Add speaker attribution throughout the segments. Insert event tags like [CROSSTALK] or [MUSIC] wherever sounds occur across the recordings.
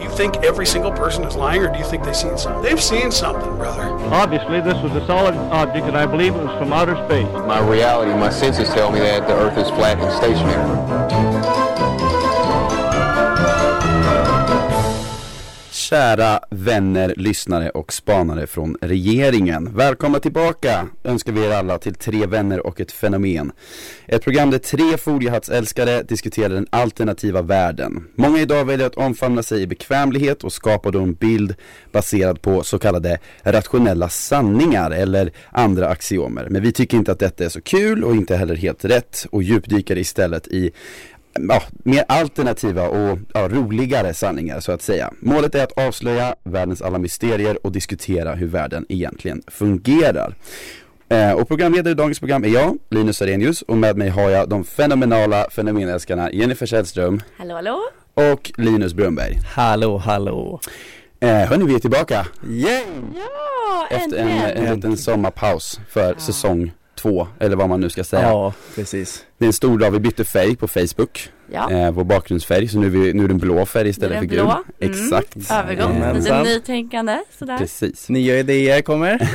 Speaker 1: You think every single person is lying, or do you think they've seen something? They've seen something, brother.
Speaker 2: Obviously, this was a solid object, and I believe it was from outer space.
Speaker 3: my reality, my senses tell me that the earth is flat and stationary.
Speaker 4: Kära vänner, lyssnare och spanare från regeringen. Välkomna tillbaka önskar vi er alla till Tre vänner och ett fenomen. Ett program där tre foliehattsälskare diskuterar den alternativa världen. Många idag väljer att omfamna sig i bekvämlighet och skapar då en bild baserad på så kallade rationella sanningar eller andra axiomer. Men vi tycker inte att detta är så kul och inte heller helt rätt och djupdyker istället i ja, mer alternativa och ja, roligare sanningar så att säga. Målet är att avslöja världens alla mysterier och diskutera hur världen egentligen fungerar. Eh, och programledare i dagens program är jag, Linus Arrhenius och med mig har jag de fenomenala fenomenälskarna Jennifer Källström
Speaker 5: Hallå hallå!
Speaker 4: och Linus Brunnberg.
Speaker 6: Hallå, hallå.
Speaker 4: Eh, hörni, vi är tillbaka! Yay!
Speaker 5: Ja,
Speaker 4: Efter en, en liten sommarpaus för säsong två, eller vad man nu ska säga.
Speaker 6: Ja, precis.
Speaker 4: Det är en stor dag, vi bytte färg på Facebook,
Speaker 5: Ja.
Speaker 4: eh, vår bakgrundsfärg, så nu är, vi, nu är den blå färg istället
Speaker 5: Nu
Speaker 4: för
Speaker 5: är den
Speaker 4: gul.
Speaker 5: blå. Mm.
Speaker 4: Exakt.
Speaker 5: Övergång,
Speaker 4: Eh,
Speaker 5: lite
Speaker 6: Jajamensan.
Speaker 5: nytänkande sådär.
Speaker 4: Precis.
Speaker 6: Nya idéer kommer.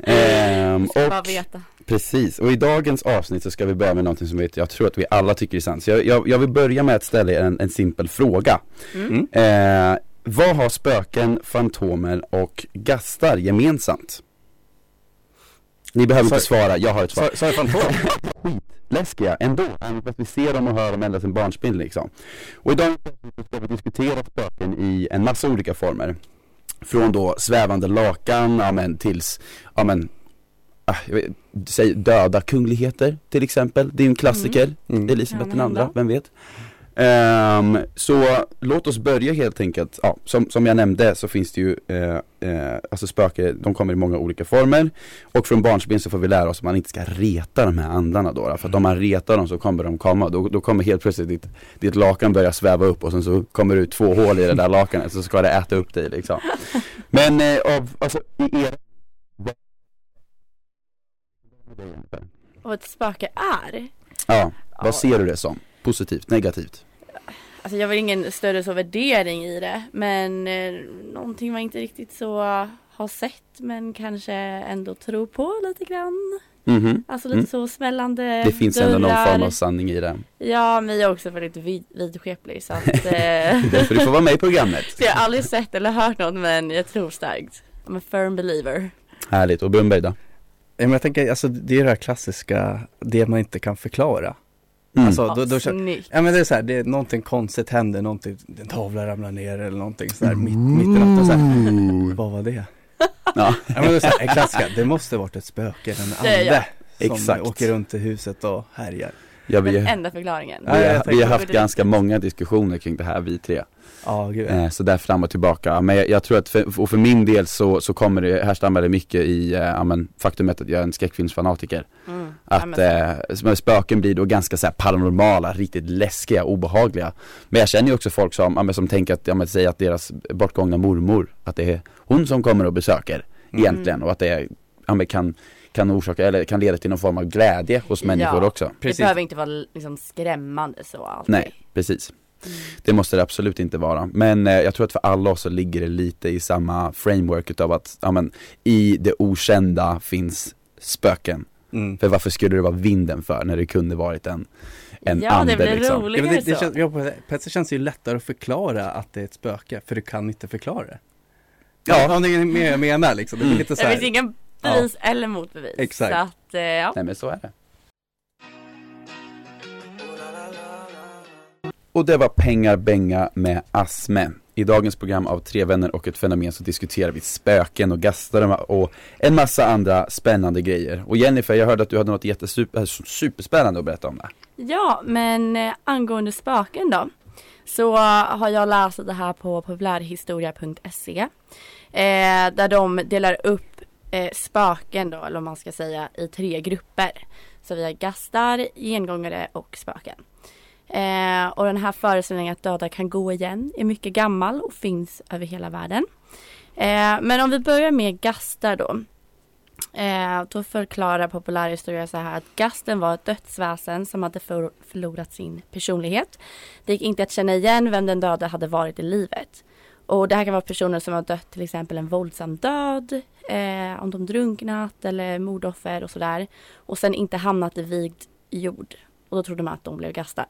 Speaker 4: Ehm,
Speaker 5: Mm. Bara
Speaker 4: och,
Speaker 5: veta.
Speaker 4: precis, och i dagens avsnitt så ska vi börja med någonting som vi, jag tror att vi alla tycker är sant. Så jag, jag, jag vill börja med att ställa er en, en simpel fråga.
Speaker 5: Mm.
Speaker 4: Eh, vad har spöken, fantomer och gastar gemensamt? Ni behöver inte svara, jag har ett svar.
Speaker 6: Sa jag fantom?
Speaker 4: [LAUGHS] läskiga ändå, även fast vi ser dem och hör dem ända sedan barnsben liksom. Och idag ska vi diskutera spöken i en massa olika former. Från då svävande lakan, ja men tills, ja men, ah, jag vet, säg döda kungligheter till exempel. Det är ju en klassiker,
Speaker 6: Mm.
Speaker 4: Elisabeth
Speaker 5: Kan
Speaker 4: den andra,
Speaker 5: hända.
Speaker 4: vem vet? Ehm, så låt oss börja helt enkelt, ja, som, som jag nämnde så finns det ju, eh, eh, alltså spöken, de kommer i många olika former Och från barnsben så får vi lära oss att man inte ska reta de här andarna då, då för att om man retar dem så kommer de komma, då, då kommer helt plötsligt ditt, ditt lakan börja sväva upp och sen så kommer det ut två hål i det där lakanet så ska det äta upp dig liksom Men eh, av, alltså i er
Speaker 5: Och ett spöke är.
Speaker 4: Ja, vad
Speaker 5: Ja,
Speaker 4: ser du det som? Positivt, negativt?
Speaker 5: Alltså jag har väl ingen större så värdering i det men eh, någonting man inte riktigt så har sett men kanske ändå tror på lite grann.
Speaker 4: Mhm
Speaker 5: Alltså lite
Speaker 4: Mm.
Speaker 5: så smällande
Speaker 4: Det finns
Speaker 5: dörrar.
Speaker 4: ändå någon form av sanning i det
Speaker 5: Ja men jag är också väldigt vid- vidskeplig
Speaker 4: [LAUGHS]
Speaker 5: så att eh,
Speaker 4: Därför du får vara med i programmet
Speaker 5: så [LAUGHS] jag har aldrig sett eller hört något men jag tror starkt. I'm a firm believer.
Speaker 4: Härligt, och Brunnberg då?
Speaker 6: Ja, men jag tänker, alltså det är det här klassiska, det man inte kan förklara.
Speaker 4: Mm.
Speaker 6: Alltså, då, då,
Speaker 5: Ja,
Speaker 6: känner-
Speaker 5: snyggt.
Speaker 6: ja men det är så här, det är någonting konstigt händer, någonting, en tavla ramlar ner eller någonting så här mitt, mitt i natten så här. [LAUGHS] Vad var det?
Speaker 4: Mm. Ja,
Speaker 6: Ja men det är så här, en klassiker, det måste varit ett spöke, en
Speaker 5: Ja, ja.
Speaker 6: ande. Som
Speaker 4: Exakt.
Speaker 6: åker runt i huset och härjar.
Speaker 4: ja vi,
Speaker 5: Den
Speaker 4: vi,
Speaker 5: enda förklaringen. Mm.
Speaker 6: Ja, jag
Speaker 4: har, vi
Speaker 6: tänkte-
Speaker 4: har haft ganska många diskussioner kring det här vi tre
Speaker 6: Ja, gud.
Speaker 4: Eh, Så där fram och tillbaka. Men jag, jag tror att, för, och för min del så, så kommer det, härstammar det mycket i, eh, ja men faktumet att jag är en skräckfilmsfanatiker.
Speaker 5: Mm. Ja,
Speaker 4: Att
Speaker 5: men-
Speaker 4: eh, spöken blir då ganska så här paranormala, riktigt läskiga, obehagliga. Men jag känner ju också folk som, ja, men, som tänker att, ja men säg att deras bortgångna mormor, att det är hon som kommer och besöker
Speaker 5: Mm.
Speaker 4: egentligen och att det är, ja, men, kan, kan orsaka, eller kan leda till någon form av glädje hos människor
Speaker 5: Ja.
Speaker 4: också.
Speaker 5: Det behöver inte vara liksom skrämmande så alltid.
Speaker 4: Nej, precis.
Speaker 5: Mm.
Speaker 4: Det måste det absolut inte vara. Men eh, jag tror att för alla oss så ligger det lite i samma framework utav att, ja men, i det okända finns spöken.
Speaker 6: Mm.
Speaker 4: För varför skulle det vara vinden för när det kunde varit en, en
Speaker 5: ja,
Speaker 4: ande
Speaker 5: det blir
Speaker 4: liksom?
Speaker 6: Ja,
Speaker 5: roligare
Speaker 6: men det, det
Speaker 5: så.
Speaker 6: känns, ja, på på ett sätt känns det ju lättare att förklara att det är ett spöke, för du kan inte förklara det. Ja, om ni är med jag menar liksom, det blir lite så
Speaker 5: det finns
Speaker 6: här.
Speaker 5: ingen
Speaker 6: Ja.
Speaker 5: bevis eller motbevis.
Speaker 6: Exakt.
Speaker 5: Så att, eh, ja.
Speaker 4: Nej men så är det. Och det var Pengar Benga med Asme. I dagens program av Tre vänner och ett fenomen så diskuterar vi spöken och gastar och en massa andra spännande grejer. Och Jennifer, jag hörde att du hade något jättesuper, superspännande att berätta om det.
Speaker 5: ja, men eh, angående spöken då. Så eh, har jag läst det här på populärhistoria.se. Eh, där de delar upp eh, spöken då, eller om man ska säga, i tre grupper. Så vi har gastar, gengångare och spöken. Eh, och den här föreställningen att döda kan gå igen är mycket gammal och finns över hela världen. Eh, men om vi börjar med gastar då. Eh, då förklarar populärhistoria så här att gasten var ett dödsväsen som hade för- förlorat sin personlighet. Det gick inte att känna igen vem den döde hade varit i livet. Och det här kan vara personer som har dött till exempel en våldsam död, eh, om de drunknat eller mordoffer och sådär. Och sen inte hamnat i vigd jord. Och då trodde man att de blev gastar.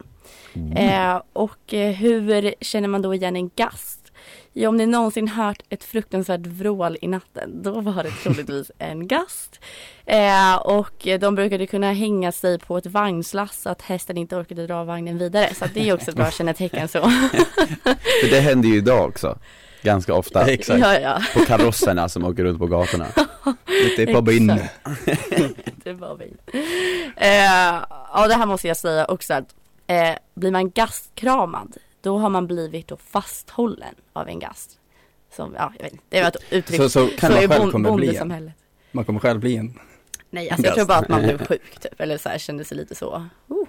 Speaker 5: Eh, och eh, hur känner man då igen en gast? Ja, om ni någonsin hört ett fruktansvärt vrål i natten, då var det
Speaker 6: [LAUGHS]
Speaker 5: troligtvis en gast. Eh, och eh, de brukade kunna hänga sig på ett vagnslass så att hästen inte orkade dra vagnen vidare. Så att det är också
Speaker 6: [LAUGHS]
Speaker 5: ett bra kännetecken så.
Speaker 4: För det händer ju idag också. Ganska ofta.
Speaker 5: [LAUGHS]
Speaker 6: Exakt.
Speaker 5: Ja, ja.
Speaker 4: På karosserna som åker runt på gatorna.
Speaker 6: Lite i pubbin.
Speaker 5: Exakt. det var vi. Eh, ja, det här måste jag säga också att eh, blir man gastkramad, då har man blivit då fasthållen av en gast. Som, ja, jag vet inte, det var ett uttryck.
Speaker 6: Så, så kan
Speaker 5: är
Speaker 6: man själv
Speaker 5: bon-
Speaker 6: kommer bli en.
Speaker 5: bondesamhället.
Speaker 6: Man kommer själv bli en.
Speaker 5: Nej, alltså jag tror bara att man blev sjuk typ, eller så här kände sig lite så. Oh,
Speaker 4: oh.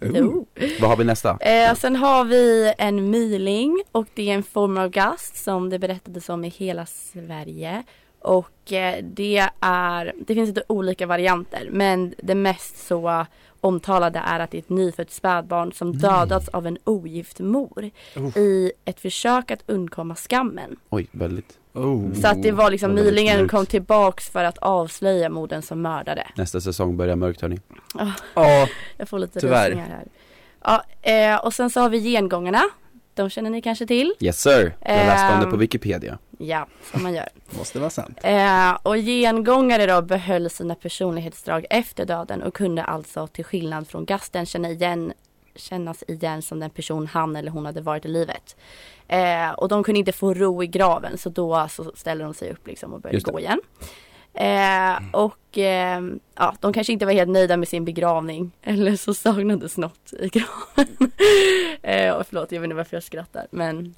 Speaker 5: jo.
Speaker 4: Vad har vi nästa?
Speaker 5: Eh, sen har vi en myling och det är en form av gast som det berättades om i hela Sverige. Och eh, det är, det finns lite olika varianter men det mest så omtalade är att det är ett nyfött spädbarn som dödats av en ogift mor i ett försök att undkomma skammen.
Speaker 4: Oj, väldigt.
Speaker 6: Oh.
Speaker 5: Så att det var liksom
Speaker 4: det var lite
Speaker 5: mylingen
Speaker 4: mörkt.
Speaker 5: kom tillbaks för att avslöja modern som mördare.
Speaker 4: Nästa säsong börjar mörkt hörni.
Speaker 6: Ja,
Speaker 5: Jag får lite
Speaker 6: Tyvärr.
Speaker 5: rysningar här. Ja, eh, och sen så har vi gengångarna. De känner ni kanske till.
Speaker 4: Yes sir. Jag läste om det på
Speaker 5: Ehm. [LAUGHS]
Speaker 4: Wikipedia.
Speaker 5: Ja, som man gör.
Speaker 6: måste vara sant.
Speaker 5: Eh, och gengångare då behöll sina personlighetsdrag efter döden och kunde alltså till skillnad från gasten känna igen, kännas igen som den person han eller hon hade varit i livet. Eh, och de kunde inte få ro i graven så då så ställde de sig upp liksom och började
Speaker 4: Just det.
Speaker 5: gå igen. Eh,
Speaker 6: Mm.
Speaker 5: och eh, ja, de kanske inte var helt nöjda med sin begravning [LAUGHS] eller så saknades något i graven. [LAUGHS] eh, och förlåt, jag vet inte varför jag skrattar men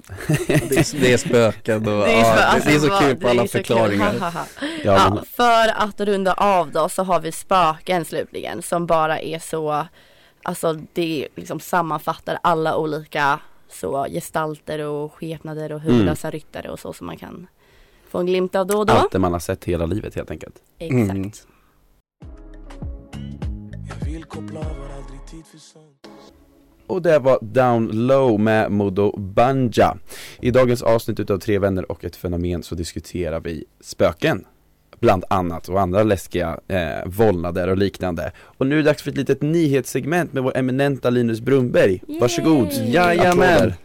Speaker 6: Det är, det är spöken och
Speaker 5: [LAUGHS] det är,
Speaker 6: ja,
Speaker 5: så,
Speaker 6: det-
Speaker 5: alltså,
Speaker 6: det är så
Speaker 5: vad-
Speaker 6: kul på
Speaker 5: det är
Speaker 6: alla
Speaker 5: så kul.
Speaker 6: förklaringar.
Speaker 5: Ha, ha, ha.
Speaker 4: Ja, men,
Speaker 5: Ja, för att runda av då så har vi spöken slutligen som bara är så, alltså det liksom sammanfattar alla olika så gestalter och skepnader och
Speaker 4: Mm.
Speaker 5: huvudlösa ryttare och så som man kan få en glimt av då och då.
Speaker 4: allt det man har sett hela livet helt enkelt.
Speaker 5: Exakt.
Speaker 6: Mm.
Speaker 4: Och det var Down Low med Modo Banja. I dagens avsnitt utav Tre vänner och ett fenomen så diskuterar vi spöken. Bland annat och andra läskiga eh, vålnader och liknande. Och nu är det dags för ett litet nyhetssegment med vår eminenta Linus Brunnberg. Varsågod!
Speaker 5: Yay!
Speaker 6: Jajamän!
Speaker 4: Applåder.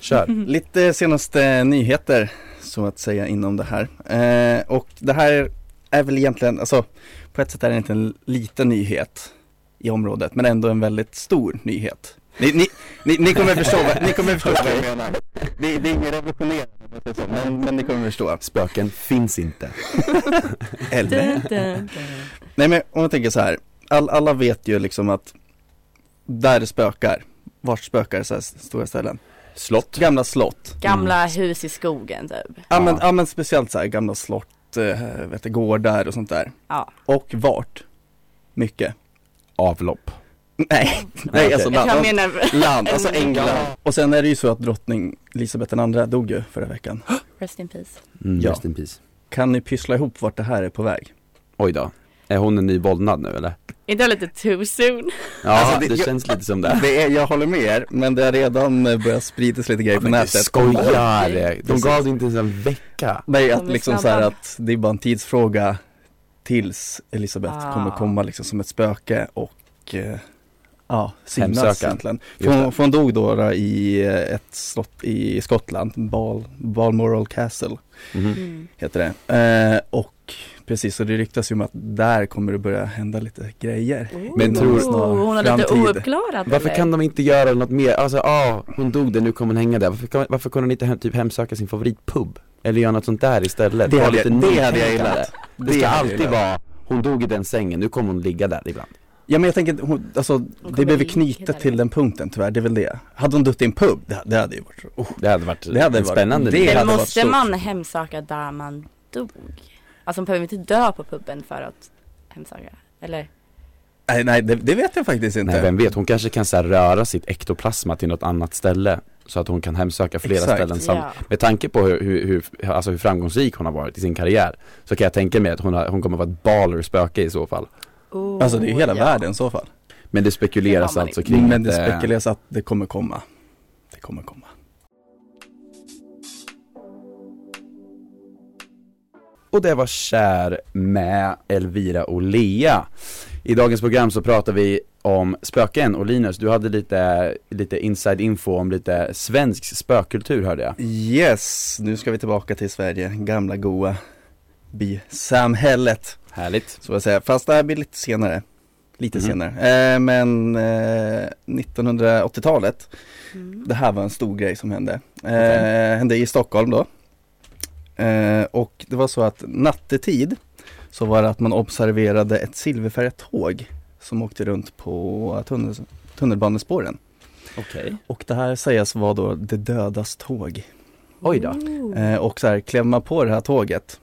Speaker 4: Kör!
Speaker 6: [LAUGHS] Lite senaste nyheter så att säga inom det här. Eh, och det här är väl egentligen, alltså på ett sätt är det inte en liten nyhet i området men ändå en väldigt stor nyhet. Ni, ni, ni, ni kommer förstå, vad- ni kommer förstå vad jag menar. Det, det är inget revolutionerande om jag säger så, men, men ni kommer förstå.
Speaker 4: Spöken finns inte.
Speaker 6: [LAUGHS] Eller?
Speaker 5: Dun, dun, dun.
Speaker 6: Nej men om man tänker så här, all, alla vet ju liksom att där det spökar, vart spökar så här stora ställen?
Speaker 4: Slott.
Speaker 6: Gamla slott.
Speaker 5: Gamla hus i skogen typ.
Speaker 6: Ja men,
Speaker 4: Ja.
Speaker 6: ja, men speciellt så här gamla slott, eh, vet du, gårdar och sånt där.
Speaker 5: Ja.
Speaker 6: Och vart? Mycket. [LAUGHS]
Speaker 4: Avlopp.
Speaker 6: Nej,
Speaker 4: okej.
Speaker 6: nej alltså
Speaker 5: Jag
Speaker 6: land,
Speaker 5: kan mena,
Speaker 6: land,
Speaker 4: [LAUGHS]
Speaker 6: alltså
Speaker 5: England.
Speaker 6: England. Och sen är det ju så att drottning Elisabeth II dog ju förra veckan.
Speaker 5: rest in peace.
Speaker 4: Mm,
Speaker 6: Ja.
Speaker 4: Rest in peace.
Speaker 6: Kan ni pyssla ihop vart det här är på väg?
Speaker 4: Oj då. Är hon en ny vålnad nu eller?
Speaker 5: Är det lite too soon?
Speaker 4: Ja,
Speaker 6: Alltså,
Speaker 4: det,
Speaker 6: det- jag-
Speaker 4: känns lite som det.
Speaker 6: det är, jag håller med er, men det har redan eh, börjat spridas lite grejer på
Speaker 4: Men du
Speaker 6: nätet.
Speaker 4: skojar! De
Speaker 6: Precis.
Speaker 4: gav det inte ens en vecka.
Speaker 6: Nej,
Speaker 5: De
Speaker 6: att
Speaker 5: är
Speaker 6: liksom så
Speaker 5: snabba.
Speaker 6: här att det är bara en tidsfråga tills Elisabeth
Speaker 5: Ah.
Speaker 6: kommer komma liksom som ett spöke och eh, ja, synas
Speaker 4: Hemsöka.
Speaker 6: egentligen. För
Speaker 4: Just
Speaker 6: hon,
Speaker 4: det.
Speaker 6: för hon dog då, då i eh, ett slott i Skottland, Bal, Balmoral Castle
Speaker 4: Mhm.
Speaker 6: heter det. Eh, och precis, så det ryktas ju om att där kommer det börja hända lite grejer.
Speaker 4: Men tror-
Speaker 6: Snar
Speaker 5: Oh, hon har lite
Speaker 6: framtid.
Speaker 5: ouppklarat
Speaker 4: Varför
Speaker 5: eller?
Speaker 4: kan de inte göra något mer? Alltså, ah, hon dog där, nu kommer hon hänga där. Varför, kan, varför kunde hon inte hem, typ hemsöka sin favoritpub? Eller göra något sånt där istället?
Speaker 6: Det
Speaker 4: Vara
Speaker 6: hade jag- det hade jag
Speaker 4: nytänkande.
Speaker 6: gillat.
Speaker 4: Det,
Speaker 6: Det
Speaker 4: ska
Speaker 6: hade jag
Speaker 4: alltid
Speaker 6: gillat.
Speaker 4: vara, hon dog i den sängen, nu kommer hon ligga där ibland.
Speaker 6: Ja men jag tänker, att hon, alltså
Speaker 5: kommer
Speaker 6: det behöver
Speaker 5: ligga
Speaker 6: knyta
Speaker 5: där.
Speaker 6: till den punkten tyvärr, det är väl det. Hade hon dött i en pub, det, det hade ju varit, oh,
Speaker 4: Det hade varit
Speaker 6: Det hade
Speaker 4: en
Speaker 6: varit-
Speaker 4: spännande.
Speaker 6: det
Speaker 4: liv.
Speaker 6: hade
Speaker 5: Men
Speaker 6: varit
Speaker 5: måste
Speaker 6: stort.
Speaker 5: man hemsöka där man dog? Alltså man behöver inte dö på puben för att hemsöka? Eller?
Speaker 6: Nej, nej det, det vet jag faktiskt inte.
Speaker 4: Nej vem vet, hon kanske kan så här, röra sitt ektoplasma till något annat ställe Så att hon kan hemsöka flera
Speaker 6: Exakt.
Speaker 4: ställen sam- Med tanke på hur, hur, hur, alltså hur framgångsrik hon har varit i sin karriär Så kan jag tänka mig att hon, har, hon kommer vara ett baller spöke i så fall
Speaker 5: Oh,
Speaker 6: Alltså det är ju hela
Speaker 5: ja.
Speaker 6: världen i så fall.
Speaker 4: Men det spekuleras
Speaker 5: Det har man
Speaker 4: alltså
Speaker 5: inte.
Speaker 4: kring
Speaker 6: Men det
Speaker 4: att, eh,
Speaker 6: spekuleras att det kommer komma. Det kommer komma.
Speaker 4: Och det var Kär med Elvira och Lea I dagens program så pratar vi om spöken och Linus, du hade lite, lite inside info om lite svensk spökkultur hörde jag
Speaker 6: Yes, nu ska vi tillbaka till Sverige, gamla goa bisamhället.
Speaker 4: Härligt
Speaker 6: Så att säga, fast det här blir lite senare. Lite
Speaker 4: Mhm.
Speaker 6: senare. Eh, men eh, 1980-talet,
Speaker 5: Mm.
Speaker 6: det här var en stor grej som hände. Eh,
Speaker 4: Okej.
Speaker 6: Hände i Stockholm då. Eh, och det var så att nattetid så var det att man observerade ett silverfärgat tåg som åkte runt på tunnel, tunnelbanespåren.
Speaker 4: Okej
Speaker 6: Och det här sägs vara då det dödas tåg.
Speaker 4: Oj då.
Speaker 5: Oh.
Speaker 6: Eh, och så här, klämmer man på det här tåget,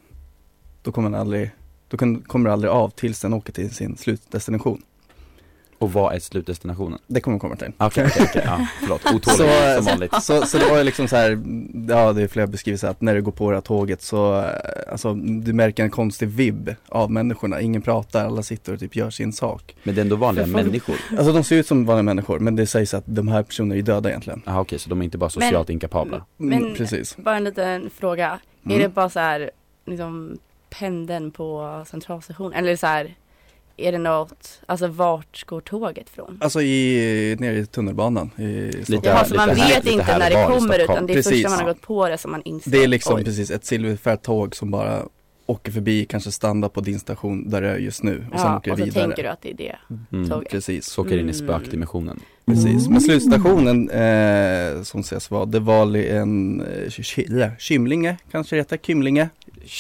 Speaker 6: då kommer den aldrig, då kun- kommer det aldrig av tills den åker till sin slutdestination.
Speaker 4: Och vad är slutdestinationen? Ah,
Speaker 6: Det kommer vi komma till.
Speaker 4: Okej, okej, okej, ja,
Speaker 5: [LAUGHS]
Speaker 4: förlåt, otålig som vanligt
Speaker 6: Så, så det var ju liksom så här, ja det är flera beskrivelser att när du går på det här tåget så, eh, alltså du märker en konstig vibb av människorna, ingen pratar, alla sitter och typ gör sin sak.
Speaker 4: Men det är ändå vanliga
Speaker 5: För fan.
Speaker 4: människor?
Speaker 6: Alltså de ser ut som vanliga människor, men det sägs att de här personerna är ju döda egentligen.
Speaker 4: Jaha Ah, okej, så de är inte bara socialt inkapabla?
Speaker 6: Mm,
Speaker 5: Men-
Speaker 6: Precis.
Speaker 5: Bara en liten fråga.
Speaker 6: Mm.
Speaker 5: Är det bara så här, liksom pendeln på centralstationen? Eller så här, är det något, alltså vart går tåget från?
Speaker 6: Alltså i, nere i tunnelbanan i Stockholm.
Speaker 5: Jaha, för man
Speaker 4: lite här-
Speaker 5: vet
Speaker 4: lite här
Speaker 5: inte när
Speaker 4: var
Speaker 5: det
Speaker 4: i
Speaker 5: kommer
Speaker 4: Stockholm.
Speaker 5: utan det är
Speaker 6: Precis.
Speaker 5: först när man har gått på det som man inser.
Speaker 6: Det är liksom
Speaker 5: oj.
Speaker 6: precis ett silverfärgat tåg som bara åker förbi, kanske stannar på din station där du är just nu och sen
Speaker 5: Ja,
Speaker 6: åker
Speaker 5: och
Speaker 6: det
Speaker 5: så
Speaker 6: vidare.
Speaker 5: tänker du att det är det
Speaker 4: Mm.
Speaker 5: tåget.
Speaker 6: Precis,
Speaker 4: Så åker in i
Speaker 5: Mm.
Speaker 4: spökdimensionen? Mm.
Speaker 6: precis. Men slutstationen eh, som ses vara, det var li- en eh, Ky- Kymlinge, kanske det heter, Kymlinge,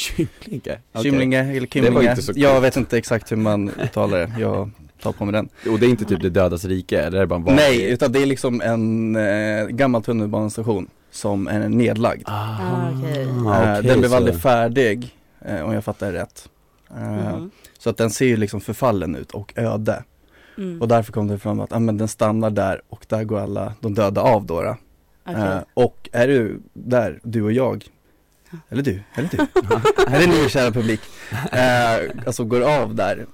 Speaker 4: Kymlinge?
Speaker 6: Kymlinge eller Kymlinge.
Speaker 4: var inte så
Speaker 6: jag
Speaker 4: coolt.
Speaker 6: vet inte exakt hur man uttalar det, jag tar på mig den.
Speaker 4: Och det är inte typ det dödas rike, eller är det bara en vanlig?
Speaker 6: Nej, utan det är liksom en eh, gammal tunnelbanestation som är nedlagd.
Speaker 4: Ah,
Speaker 5: Ah, okej.
Speaker 4: ah,
Speaker 6: Eh,
Speaker 4: okej,
Speaker 6: den blev
Speaker 4: så-
Speaker 6: aldrig färdig, eh, om jag fattar rätt. Eh,
Speaker 5: Mhm.
Speaker 6: Så att den ser ju liksom förfallen ut och öde.
Speaker 5: Mm.
Speaker 6: Och därför kom det fram att, ja men den stannar där och där går alla de döda av då. då.
Speaker 5: Okej.
Speaker 6: Eh, och är du där, du och jag, eller du, eller du, eller ni kära publik, eh, alltså går av där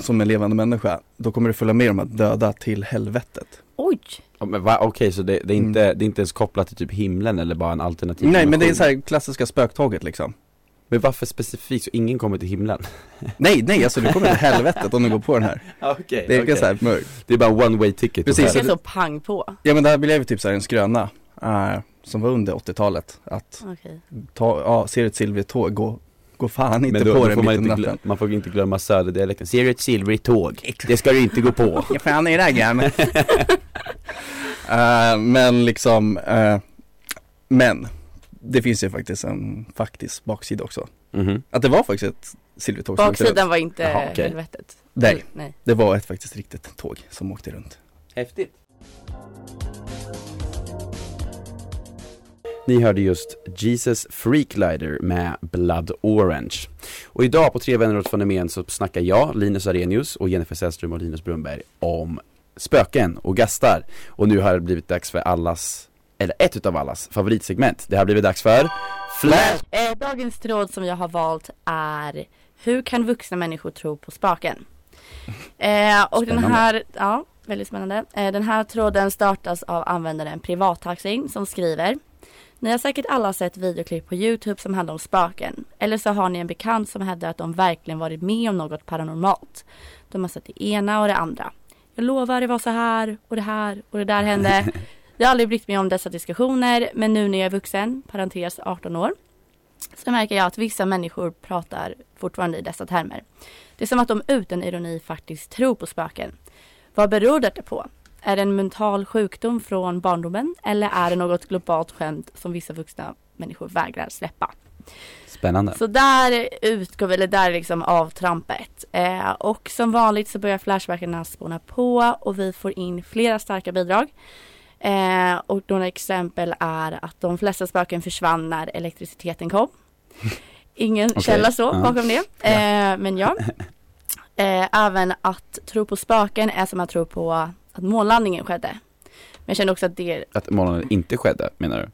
Speaker 6: som en levande människa, då kommer du följa med de här döda till helvetet.
Speaker 5: Oj!
Speaker 4: Ja, men va, okej, så det, det, är inte, det är inte ens kopplat till typ himlen eller bara en alternativ
Speaker 6: Mm. Nej men det är
Speaker 4: dimension?
Speaker 6: så här klassiska spöktåget liksom.
Speaker 4: Men varför specifikt? Så ingen kommer till
Speaker 6: [LAUGHS]
Speaker 4: himlen?
Speaker 6: Nej, nej alltså du kommer till helvetet om du går på den här.
Speaker 4: okej,
Speaker 6: Det är så här mörkt.
Speaker 4: det är bara one way ticket
Speaker 6: Precis,
Speaker 5: Det
Speaker 6: så
Speaker 5: ska
Speaker 6: det-
Speaker 5: så pang på.
Speaker 6: Ja men det här blev ju typ så här en skröna, eh, som var under 80-talet, att
Speaker 5: Okej.
Speaker 6: ta, ja, ser ett silvrigt tåg, gå, gå fan inte
Speaker 4: Men då,
Speaker 6: på
Speaker 4: då
Speaker 6: det
Speaker 4: får
Speaker 6: mitt
Speaker 4: man
Speaker 6: i
Speaker 4: inte,
Speaker 6: natten.
Speaker 4: glöm, man får inte glömma söderdialekten, ser du ett silvrigt tåg? Det ska du inte gå
Speaker 6: [LAUGHS]
Speaker 4: på
Speaker 6: Ge fan i raggen. men liksom, eh, men det finns ju faktiskt en faktisk baksida också.
Speaker 4: Mhm.
Speaker 6: Att det var faktiskt ett silvrigt tåg som åkte runt.
Speaker 5: Baksidan var inte
Speaker 4: Jaha, okej.
Speaker 5: helvetet. Mm,
Speaker 6: Nej,
Speaker 5: Nej.
Speaker 6: det var ett faktiskt riktigt tåg som åkte runt.
Speaker 4: Häftigt Ni hörde just Jesus Freaklider med Blood Orange. Och idag på Tre vänner och ett fenomen så snackar jag, Linus Arrhenius och Jennifer Sällström och Linus Brunnberg om spöken och gastar. Och nu har det blivit dags för allas, eller ett utav allas favoritsegment. Det har blivit dags för Flash!
Speaker 5: Eh, dagens tråd som jag har valt är Hur kan vuxna människor tro på spaken? Eh, och den
Speaker 4: Spännande.
Speaker 5: här, ja, väldigt spännande. Eh, den här tråden startas av användaren Privattaxin som skriver Ni har säkert alla sett videoklipp på Youtube som handlar om spöken. Eller så har ni en bekant som hävdar att de verkligen varit med om något paranormalt. De har sett det ena och det andra. Jag lovar det var så här och det här och det där hände. Jag har aldrig brytt mig om dessa diskussioner men nu när jag är vuxen, parentes 18 år, så märker jag att vissa människor pratar fortfarande i dessa termer. Det är som att de utan ironi faktiskt tror på spöken. Vad beror detta på? Är det en mental sjukdom från barndomen eller är det något globalt skämt som vissa vuxna människor vägrar släppa?
Speaker 4: Spännande.
Speaker 5: Så där utgår, eller där är liksom avtrampet. Eh, och som vanligt så börjar Flashbackarna spåna på och vi får in flera starka bidrag. Eh, och några exempel är att de flesta spöken försvann när elektriciteten kom. Ingen
Speaker 4: Okej,
Speaker 5: källa så
Speaker 4: ja.
Speaker 5: bakom det, eh, men ja. eh, även att tro på spöken är som att tro på att månlandningen skedde. Men jag känner också att det,
Speaker 4: Att månlandningen inte skedde menar du?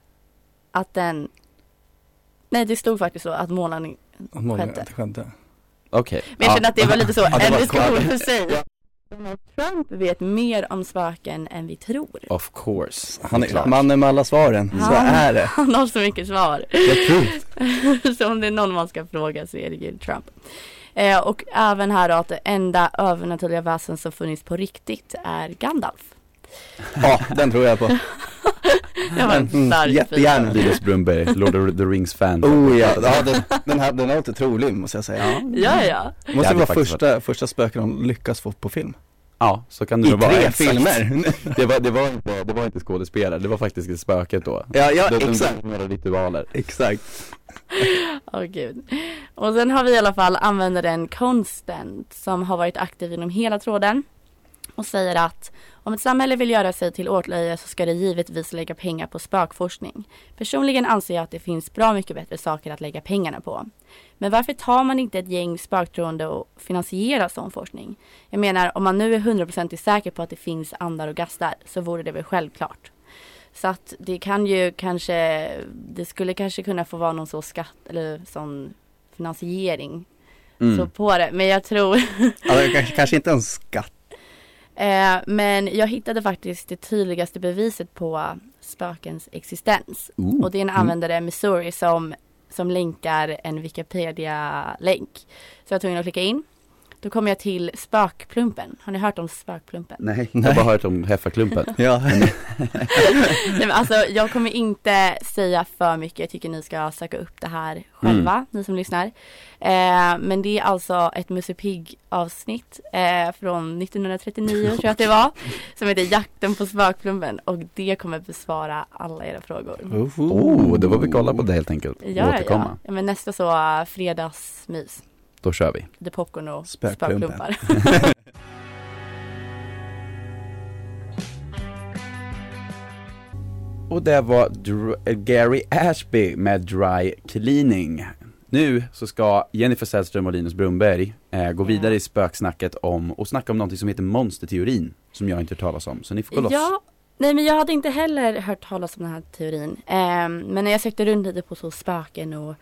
Speaker 5: att den, nej det stod faktiskt så att månlandning,
Speaker 6: Om någon
Speaker 5: Skedde.
Speaker 6: inte skedde.
Speaker 4: Okej.
Speaker 5: men jag känner att det var lite så,
Speaker 4: Ja, det
Speaker 5: en
Speaker 4: var
Speaker 5: diskussion
Speaker 4: klart.
Speaker 5: för sig. Trump vet mer om spöken än vi tror.
Speaker 4: Of course.
Speaker 6: Han
Speaker 4: Det är klart.
Speaker 6: är mannen med alla svaren, Mm, så
Speaker 5: Han-
Speaker 6: är det.
Speaker 5: [LAUGHS] Han har så mycket svar.
Speaker 4: Det är true.
Speaker 5: [LAUGHS] så om det är någon man ska fråga så är det ju Trump. Eh, och även här då att det enda övernaturliga väsen som funnits på riktigt är Gandalf.
Speaker 6: Ja, den tror jag på.
Speaker 5: Jag var en
Speaker 6: Mm,
Speaker 5: stark
Speaker 6: jättegärna.
Speaker 5: fyra.
Speaker 4: Linus Brunnberg, Lord of the Rings fan.
Speaker 6: Oh ja, ja den, den, här, den här låter trolig måste jag säga.
Speaker 5: Ja, ja.
Speaker 6: Det
Speaker 4: Det
Speaker 6: måste
Speaker 4: hade
Speaker 6: vara
Speaker 4: faktiskt
Speaker 6: första, första spöken de lyckas få på film.
Speaker 4: Ja, så kan det
Speaker 6: I
Speaker 4: nog vara.
Speaker 6: tre
Speaker 4: Exakt. [LAUGHS]
Speaker 6: filmer.
Speaker 4: Det var, det, var inte, det var inte skådespelare, det var faktiskt ett spöket då.
Speaker 6: ja, ja,
Speaker 4: De- de-
Speaker 6: exakt.
Speaker 4: de- Några ritualer.
Speaker 6: Exakt.
Speaker 5: Åh gud. Och sen har vi i alla fall användaren Constant som har varit aktiv inom hela tråden och säger att om ett samhälle vill göra sig till åtlöje så ska det givetvis lägga pengar på spökforskning. Personligen anser jag att det finns bra mycket bättre saker att lägga pengarna på. Men varför tar man inte ett gäng spöktroende och finansierar sån forskning? Jag menar, om man nu är hundraprocentigt säker på att det finns andar och gastar så vore det väl självklart. Så att det kan ju kanske, det skulle kanske kunna få vara någon sån skatt eller sån finansiering
Speaker 4: Mm.
Speaker 5: så på det. Men jag tror, [LAUGHS]
Speaker 6: Alltså, kanske, kanske inte en skatt.
Speaker 5: eh, men jag hittade faktiskt det tydligaste beviset på spökens existens.
Speaker 4: Ooh.
Speaker 5: Och det är en användare i Missouri som, som länkar en Wikipedia-länk. Så jag var tvungen att klicka in. Då kommer jag till spökplumpen. Har ni hört om spökplumpen?
Speaker 4: Nej. Jag har bara hört om heffaklumpen.
Speaker 6: [LAUGHS] Ja,
Speaker 5: Nej, men alltså, jag kommer inte säga för mycket. Jag tycker ni ska söka upp det här själva, ni som lyssnar. Eh, men det är alltså ett Musse Pigg avsnitt eh, från 1939 tror jag att det var. Som heter Jakten på spökplumpen och det kommer besvara alla era
Speaker 6: Mm.
Speaker 5: frågor.
Speaker 4: Oh, då får vi kolla på det helt enkelt. och
Speaker 5: Ja,
Speaker 4: återkomma.
Speaker 5: ja. ja men nästa så eh, fredagsmys.
Speaker 4: Då kör vi.
Speaker 5: The popcorn och
Speaker 6: Spökplumpen.
Speaker 5: spökplumpar.
Speaker 4: Och det var Dr- eh, Gary Ashby med Dry Cleaning. Nu så ska Jennifer Sällström och Linus Brunnberg eh, gå
Speaker 5: Ja.
Speaker 4: vidare i spöksnacket om, och snacka om någonting som heter monsterteorin, som jag inte hört talas om, så ni får gå loss.
Speaker 5: Ja, nej men jag hade inte heller hört talas om den här teorin. Ehm, men när jag sökte runt lite på så spöken och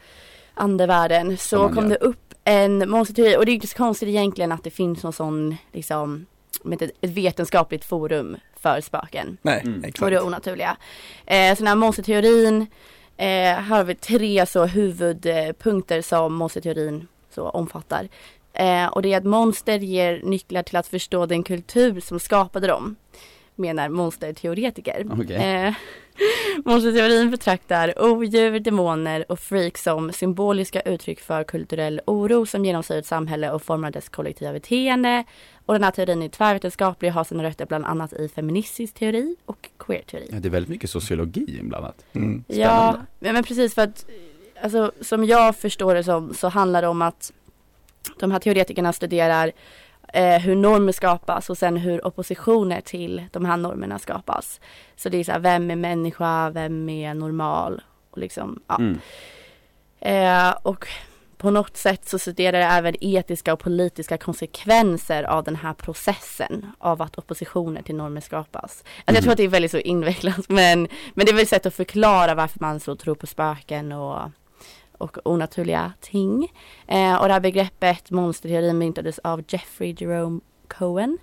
Speaker 5: andevärlden så
Speaker 4: man
Speaker 5: kom
Speaker 4: gör.
Speaker 5: det upp en monsterteori och det är inte så konstigt egentligen att det finns någon sån liksom med ett, ett vetenskapligt forum för spöken
Speaker 6: nej,
Speaker 4: Mm.
Speaker 5: och
Speaker 6: exakt.
Speaker 5: det onaturliga. Eh, så den här monsterteorin eh, har vi tre så huvudpunkter som monsterteorin så omfattar. Eh, och det är att monster ger nycklar till att förstå den kultur som skapade dem, menar monsterteoretiker.
Speaker 4: Okej.
Speaker 5: Eh, [LAUGHS] monsterteorin betraktar odjur, demoner och freaks som symboliska uttryck för kulturell oro som genomsyrar ett samhälle och formar dess kollektiva beteende. Och den här teorin är tvärvetenskaplig och har sina rötter bland annat i feministisk teori och queer-teori.
Speaker 4: Ja, det är väldigt mycket sociologi inblandat.
Speaker 6: Mm.
Speaker 5: Ja, men men precis för att alltså, som jag förstår det som så handlar det om att de här teoretikerna studerar eh, hur normer skapas och sen hur oppositioner till de här normerna skapas. Så det är så här, vem är människa, vem är normal och liksom, ja.
Speaker 4: Mm.
Speaker 5: Eh, och på något sätt så studerar det även etiska och politiska konsekvenser av den här processen av att oppositioner till normer skapas. Alltså Jag tror att det är väldigt så invecklat [LAUGHS] men, men det är väl ett sätt att förklara varför man så tror på spöken och, och onaturliga ting. Eh, och det här begreppet monsterteori myntades av Jeffrey Jerome Cohen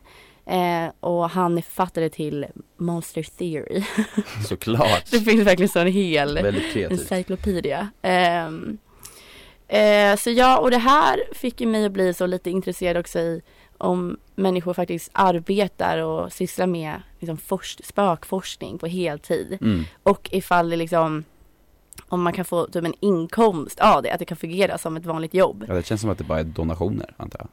Speaker 5: eh, och han är författare till Monster Theory. [LAUGHS]
Speaker 4: Såklart.
Speaker 5: det finns verkligen sån hel
Speaker 4: väldigt kreativt.
Speaker 5: encyclopedia. Ehm, eh, så ja, och det här fick ju mig att bli så lite intresserad också i om människor faktiskt arbetar och sysslar med liksom, forsk- spökforskning på heltid.
Speaker 4: Mm.
Speaker 5: Och ifall det liksom, om man kan få typ en inkomst av det, att det kan fungera som ett vanligt jobb.
Speaker 4: Ja, det känns som att det bara är donationer, antar jag.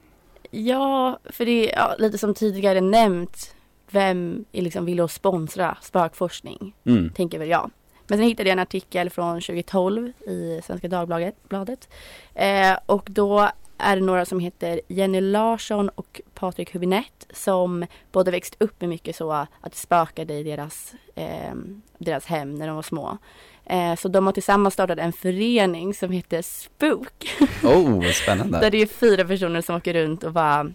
Speaker 5: Ja, för det är ja, lite som tidigare nämnt, vem är liksom vill att sponsra spökforskning?
Speaker 4: Mm.
Speaker 5: tänker väl jag. Men sen hittade jag en artikel från 2012 i Svenska Dagbladet. bladet. Eh, och då är det några som heter Jenny Larsson och Patrik Hubinett som båda växt upp med mycket så att det spökade i deras, eh, deras hem när de var små. Eh, så de har tillsammans startat en förening som heter Spook.
Speaker 4: Oh, vad
Speaker 5: Där
Speaker 4: spännande.
Speaker 5: det är fyra personer som åker runt och bara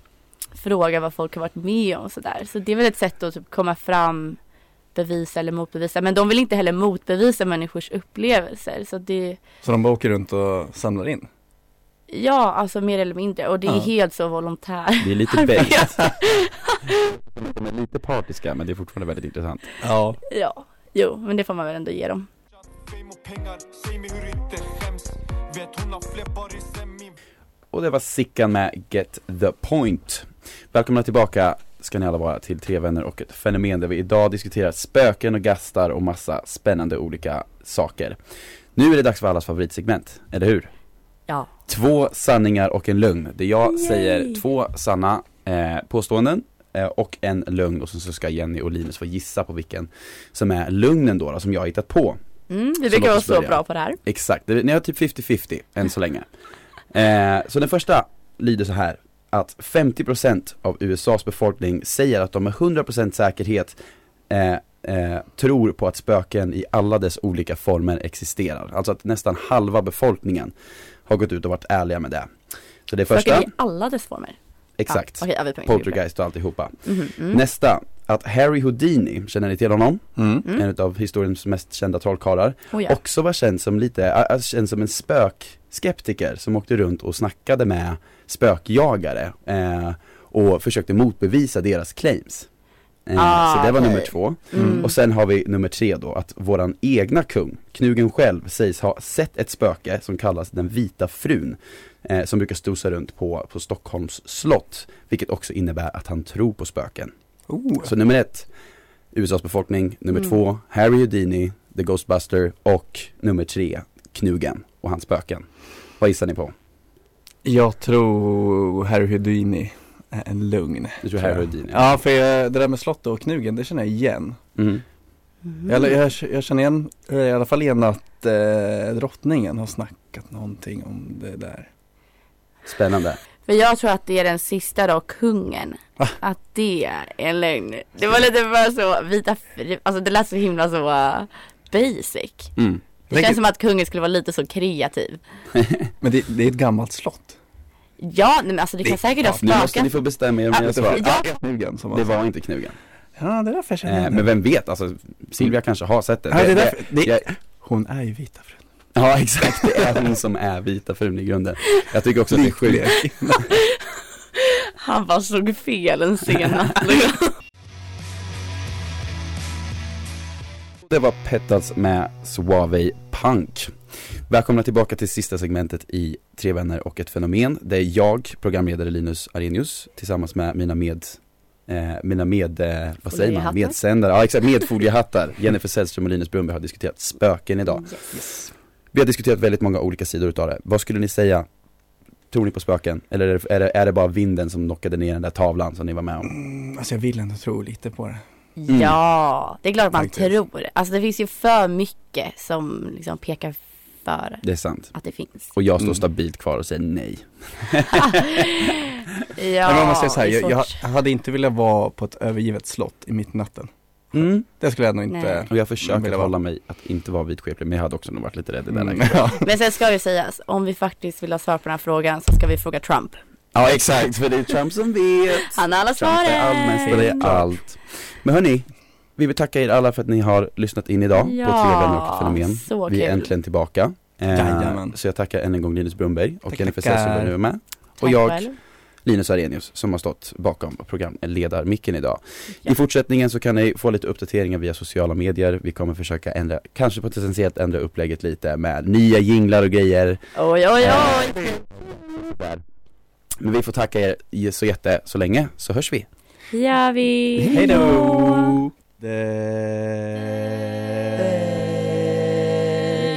Speaker 5: fråga vad folk har varit med om och sådär. Så det är väl ett sätt att typ komma fram, bevisa eller motbevisa. Men de vill inte heller motbevisa människors upplevelser. Så det,
Speaker 6: Så de bara åker runt och samlar in?
Speaker 5: ja alltså mer eller mindre. Och det är
Speaker 6: Ja.
Speaker 5: helt så volontär.
Speaker 4: Det är lite bait. De är lite partiska men det är fortfarande väldigt intressant.
Speaker 6: Ja.
Speaker 5: [LAUGHS] Ja, jo, men det får man väl ändå ge dem.
Speaker 4: Och det var Sickan med Get the Point. Välkomna tillbaka ska ni alla vara till Tre vänner och ett fenomen där vi idag diskuterar spöken och gastar och massa spännande olika saker. Nu är det dags för allas favoritsegment, eller hur?
Speaker 5: Ja.
Speaker 4: Två sanningar och en lögn. Det jag
Speaker 5: Yay!
Speaker 4: säger två sanna eh, påståenden eh, och en lögn och sen så ska Jenny och Linus få gissa på vilken som är lögnen då, då som jag har hittat på.
Speaker 5: Mm, vi
Speaker 4: Så låt
Speaker 5: brukar vara
Speaker 4: oss
Speaker 5: så
Speaker 4: börja.
Speaker 5: bra på det här.
Speaker 4: Exakt, Det- ni har typ 50-50 än så länge. Eh, så den första lyder så här att 50% av USAs befolkning säger att de med 100% säkerhet eh, eh, tror på att spöken i alla dess olika former existerar. Alltså att nästan halva befolkningen har gått ut och varit ärliga med det. Så det är första,
Speaker 5: Spöken i alla dess former.
Speaker 4: exakt,
Speaker 5: Ja, okej, ja, vi poäng-
Speaker 4: poltergeist och alltihopa.
Speaker 5: Mhm, mm.
Speaker 4: Nästa, att Harry Houdini, känner ni till honom?
Speaker 6: Mm.
Speaker 5: Mm.
Speaker 4: En av historiens mest kända trollkarlar
Speaker 5: Oh, ja.
Speaker 4: också var känd som lite, äh, äh, känd som en spökskeptiker som åkte runt och snackade med spökjagare eh, och försökte motbevisa deras claims. Eh,
Speaker 5: Ah,
Speaker 4: så det var
Speaker 5: okej.
Speaker 4: nummer två.
Speaker 5: Mm.
Speaker 4: Och sen har vi nummer tre då, att våran egna kung, knugen själv, sägs ha sett ett spöke som kallas den vita frun. Eh, som brukar stosa runt på, på Stockholms slott, vilket också innebär att han tror på spöken.
Speaker 6: Oh.
Speaker 4: Så nummer ett, USAs befolkning. Nummer
Speaker 5: Mm.
Speaker 4: två, Harry Houdini, The Ghostbuster. Och nummer tre, Knugen och hans spöken. Vad gissar ni på?
Speaker 6: Jag tror Harry Houdini är en lugn.
Speaker 4: Du tror Harry Houdini?
Speaker 6: Ja, för jag, det där med slottet och knugen, det känner jag igen.
Speaker 4: Mm.
Speaker 5: Mm.
Speaker 6: Jag, jag, jag känner igen, i alla fall igen att eh, drottningen har snackat någonting om det där.
Speaker 4: Spännande.
Speaker 5: För jag tror att det är den sista då, kungen.
Speaker 6: Va?
Speaker 5: Att det är en lögn. Det var lite för så, vita, fri- alltså det lät så himla så uh, basic.
Speaker 4: Mm.
Speaker 5: Det
Speaker 6: Tänker-
Speaker 5: känns som att kungen skulle vara lite så kreativ.
Speaker 6: Men det, det är ett gammalt slott.
Speaker 5: Ja, nej, men alltså det kan
Speaker 6: Det-
Speaker 5: säkert ha
Speaker 4: Nu måste ni
Speaker 5: spökat.
Speaker 4: få bestämma er om era svar.
Speaker 5: Ja.
Speaker 6: Knugen som Äh,
Speaker 4: Det var inte Knugen.
Speaker 6: Ja, det är därför jag känner
Speaker 4: Eh,
Speaker 6: igen
Speaker 4: men
Speaker 6: det.
Speaker 4: vem vet, alltså Silvia kanske har sett det.
Speaker 6: Ja, det är därför, det,
Speaker 4: jag-
Speaker 6: hon är ju vita frun.
Speaker 4: ja exakt, det är hon som är vita frun i grunden. Jag tycker också att det är sjukt.
Speaker 5: Han bara slog fel
Speaker 6: [LAUGHS]
Speaker 5: en sen natt.
Speaker 4: Det var Petals med Suave Punk. Välkomna tillbaka till sista segmentet i Tre vänner och ett fenomen. Det är jag, programledare Linus Arrhenius, tillsammans med mina med Eh, mina med, eh, vad säger man,
Speaker 5: Foliehattar.
Speaker 4: medsändare, ja exakt, medfoliehattar. Jennifer Sällström och Linus Brunnberg har diskuterat spöken idag.
Speaker 5: Yes.
Speaker 4: Vi har diskuterat väldigt många olika sidor utav det. Vad skulle ni säga? Tror ni på spöken? Eller är det, är det, är det bara vinden som knockade ner den där tavlan som ni var med om?
Speaker 6: Mm, alltså jag vill ändå tro lite på det.
Speaker 4: Mm.
Speaker 5: Ja, det är klart man
Speaker 6: Faktiskt.
Speaker 5: tror. Alltså det finns ju för mycket som liksom pekar för
Speaker 4: Det är sant.
Speaker 5: att
Speaker 6: [LAUGHS]
Speaker 5: det finns.
Speaker 4: Och jag står
Speaker 6: Mm.
Speaker 4: stabilt kvar och säger nej. [LAUGHS]
Speaker 5: Ja,
Speaker 6: Nej, men om man säger så här,
Speaker 5: det är
Speaker 6: jag, jag
Speaker 5: svårt.
Speaker 6: hade inte velat vara på ett övergivet slott i mitt i natten.
Speaker 4: Mm.
Speaker 6: Det skulle jag nog inte.
Speaker 5: Nej.
Speaker 4: Och jag
Speaker 6: Man
Speaker 4: försöker
Speaker 6: vill
Speaker 4: att
Speaker 6: vara-
Speaker 4: hålla mig att inte vara vidskeplig, men jag hade också nog varit lite rädd i den
Speaker 6: Mm,
Speaker 4: läget.
Speaker 6: [LAUGHS] ja.
Speaker 5: Men sen ska ju sägas, om vi faktiskt vill ha svar på den här frågan så ska vi fråga Trump.
Speaker 4: Ja exakt, för det är Trump som vet.
Speaker 5: Han har alla
Speaker 4: Trump
Speaker 5: svaren!
Speaker 4: är allmästare i allt. Men hörni, vi vill tacka er alla för att ni har lyssnat in idag på Tre vänner och ett fenomen.
Speaker 5: så
Speaker 4: Vi är
Speaker 5: kul.
Speaker 4: äntligen tillbaka. Eh,
Speaker 6: Jajamän.
Speaker 4: så jag tackar än en gång Linus Brunnberg och
Speaker 6: Tack,
Speaker 4: Jennifer
Speaker 6: tackar.
Speaker 4: Sesson som är med.
Speaker 5: Tack
Speaker 4: Och jag,
Speaker 5: själv.
Speaker 4: Linus Arrhenius, som har stått bakom programledarmicken idag. I
Speaker 5: Ja.
Speaker 4: fortsättningen så kan ni få lite uppdateringar via sociala medier. Vi kommer försöka ändra, kanske potentiellt ändra upplägget lite med nya jinglar och grejer.
Speaker 5: Oj, oj, oj!
Speaker 4: Eh, Men vi får tacka er så jätte så länge, så hörs vi.
Speaker 5: Det gör vi!
Speaker 6: Hej då!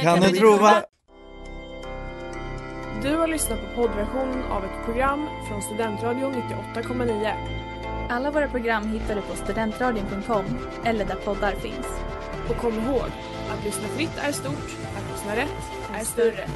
Speaker 6: Kan du prova?
Speaker 7: Du har lyssnat på poddversionen av ett program från Studentradion 98,9.
Speaker 8: Alla våra program hittar du på studentradion.com eller där poddar finns.
Speaker 7: Och kom ihåg, att lyssna fritt är stort, att lyssna rätt är större.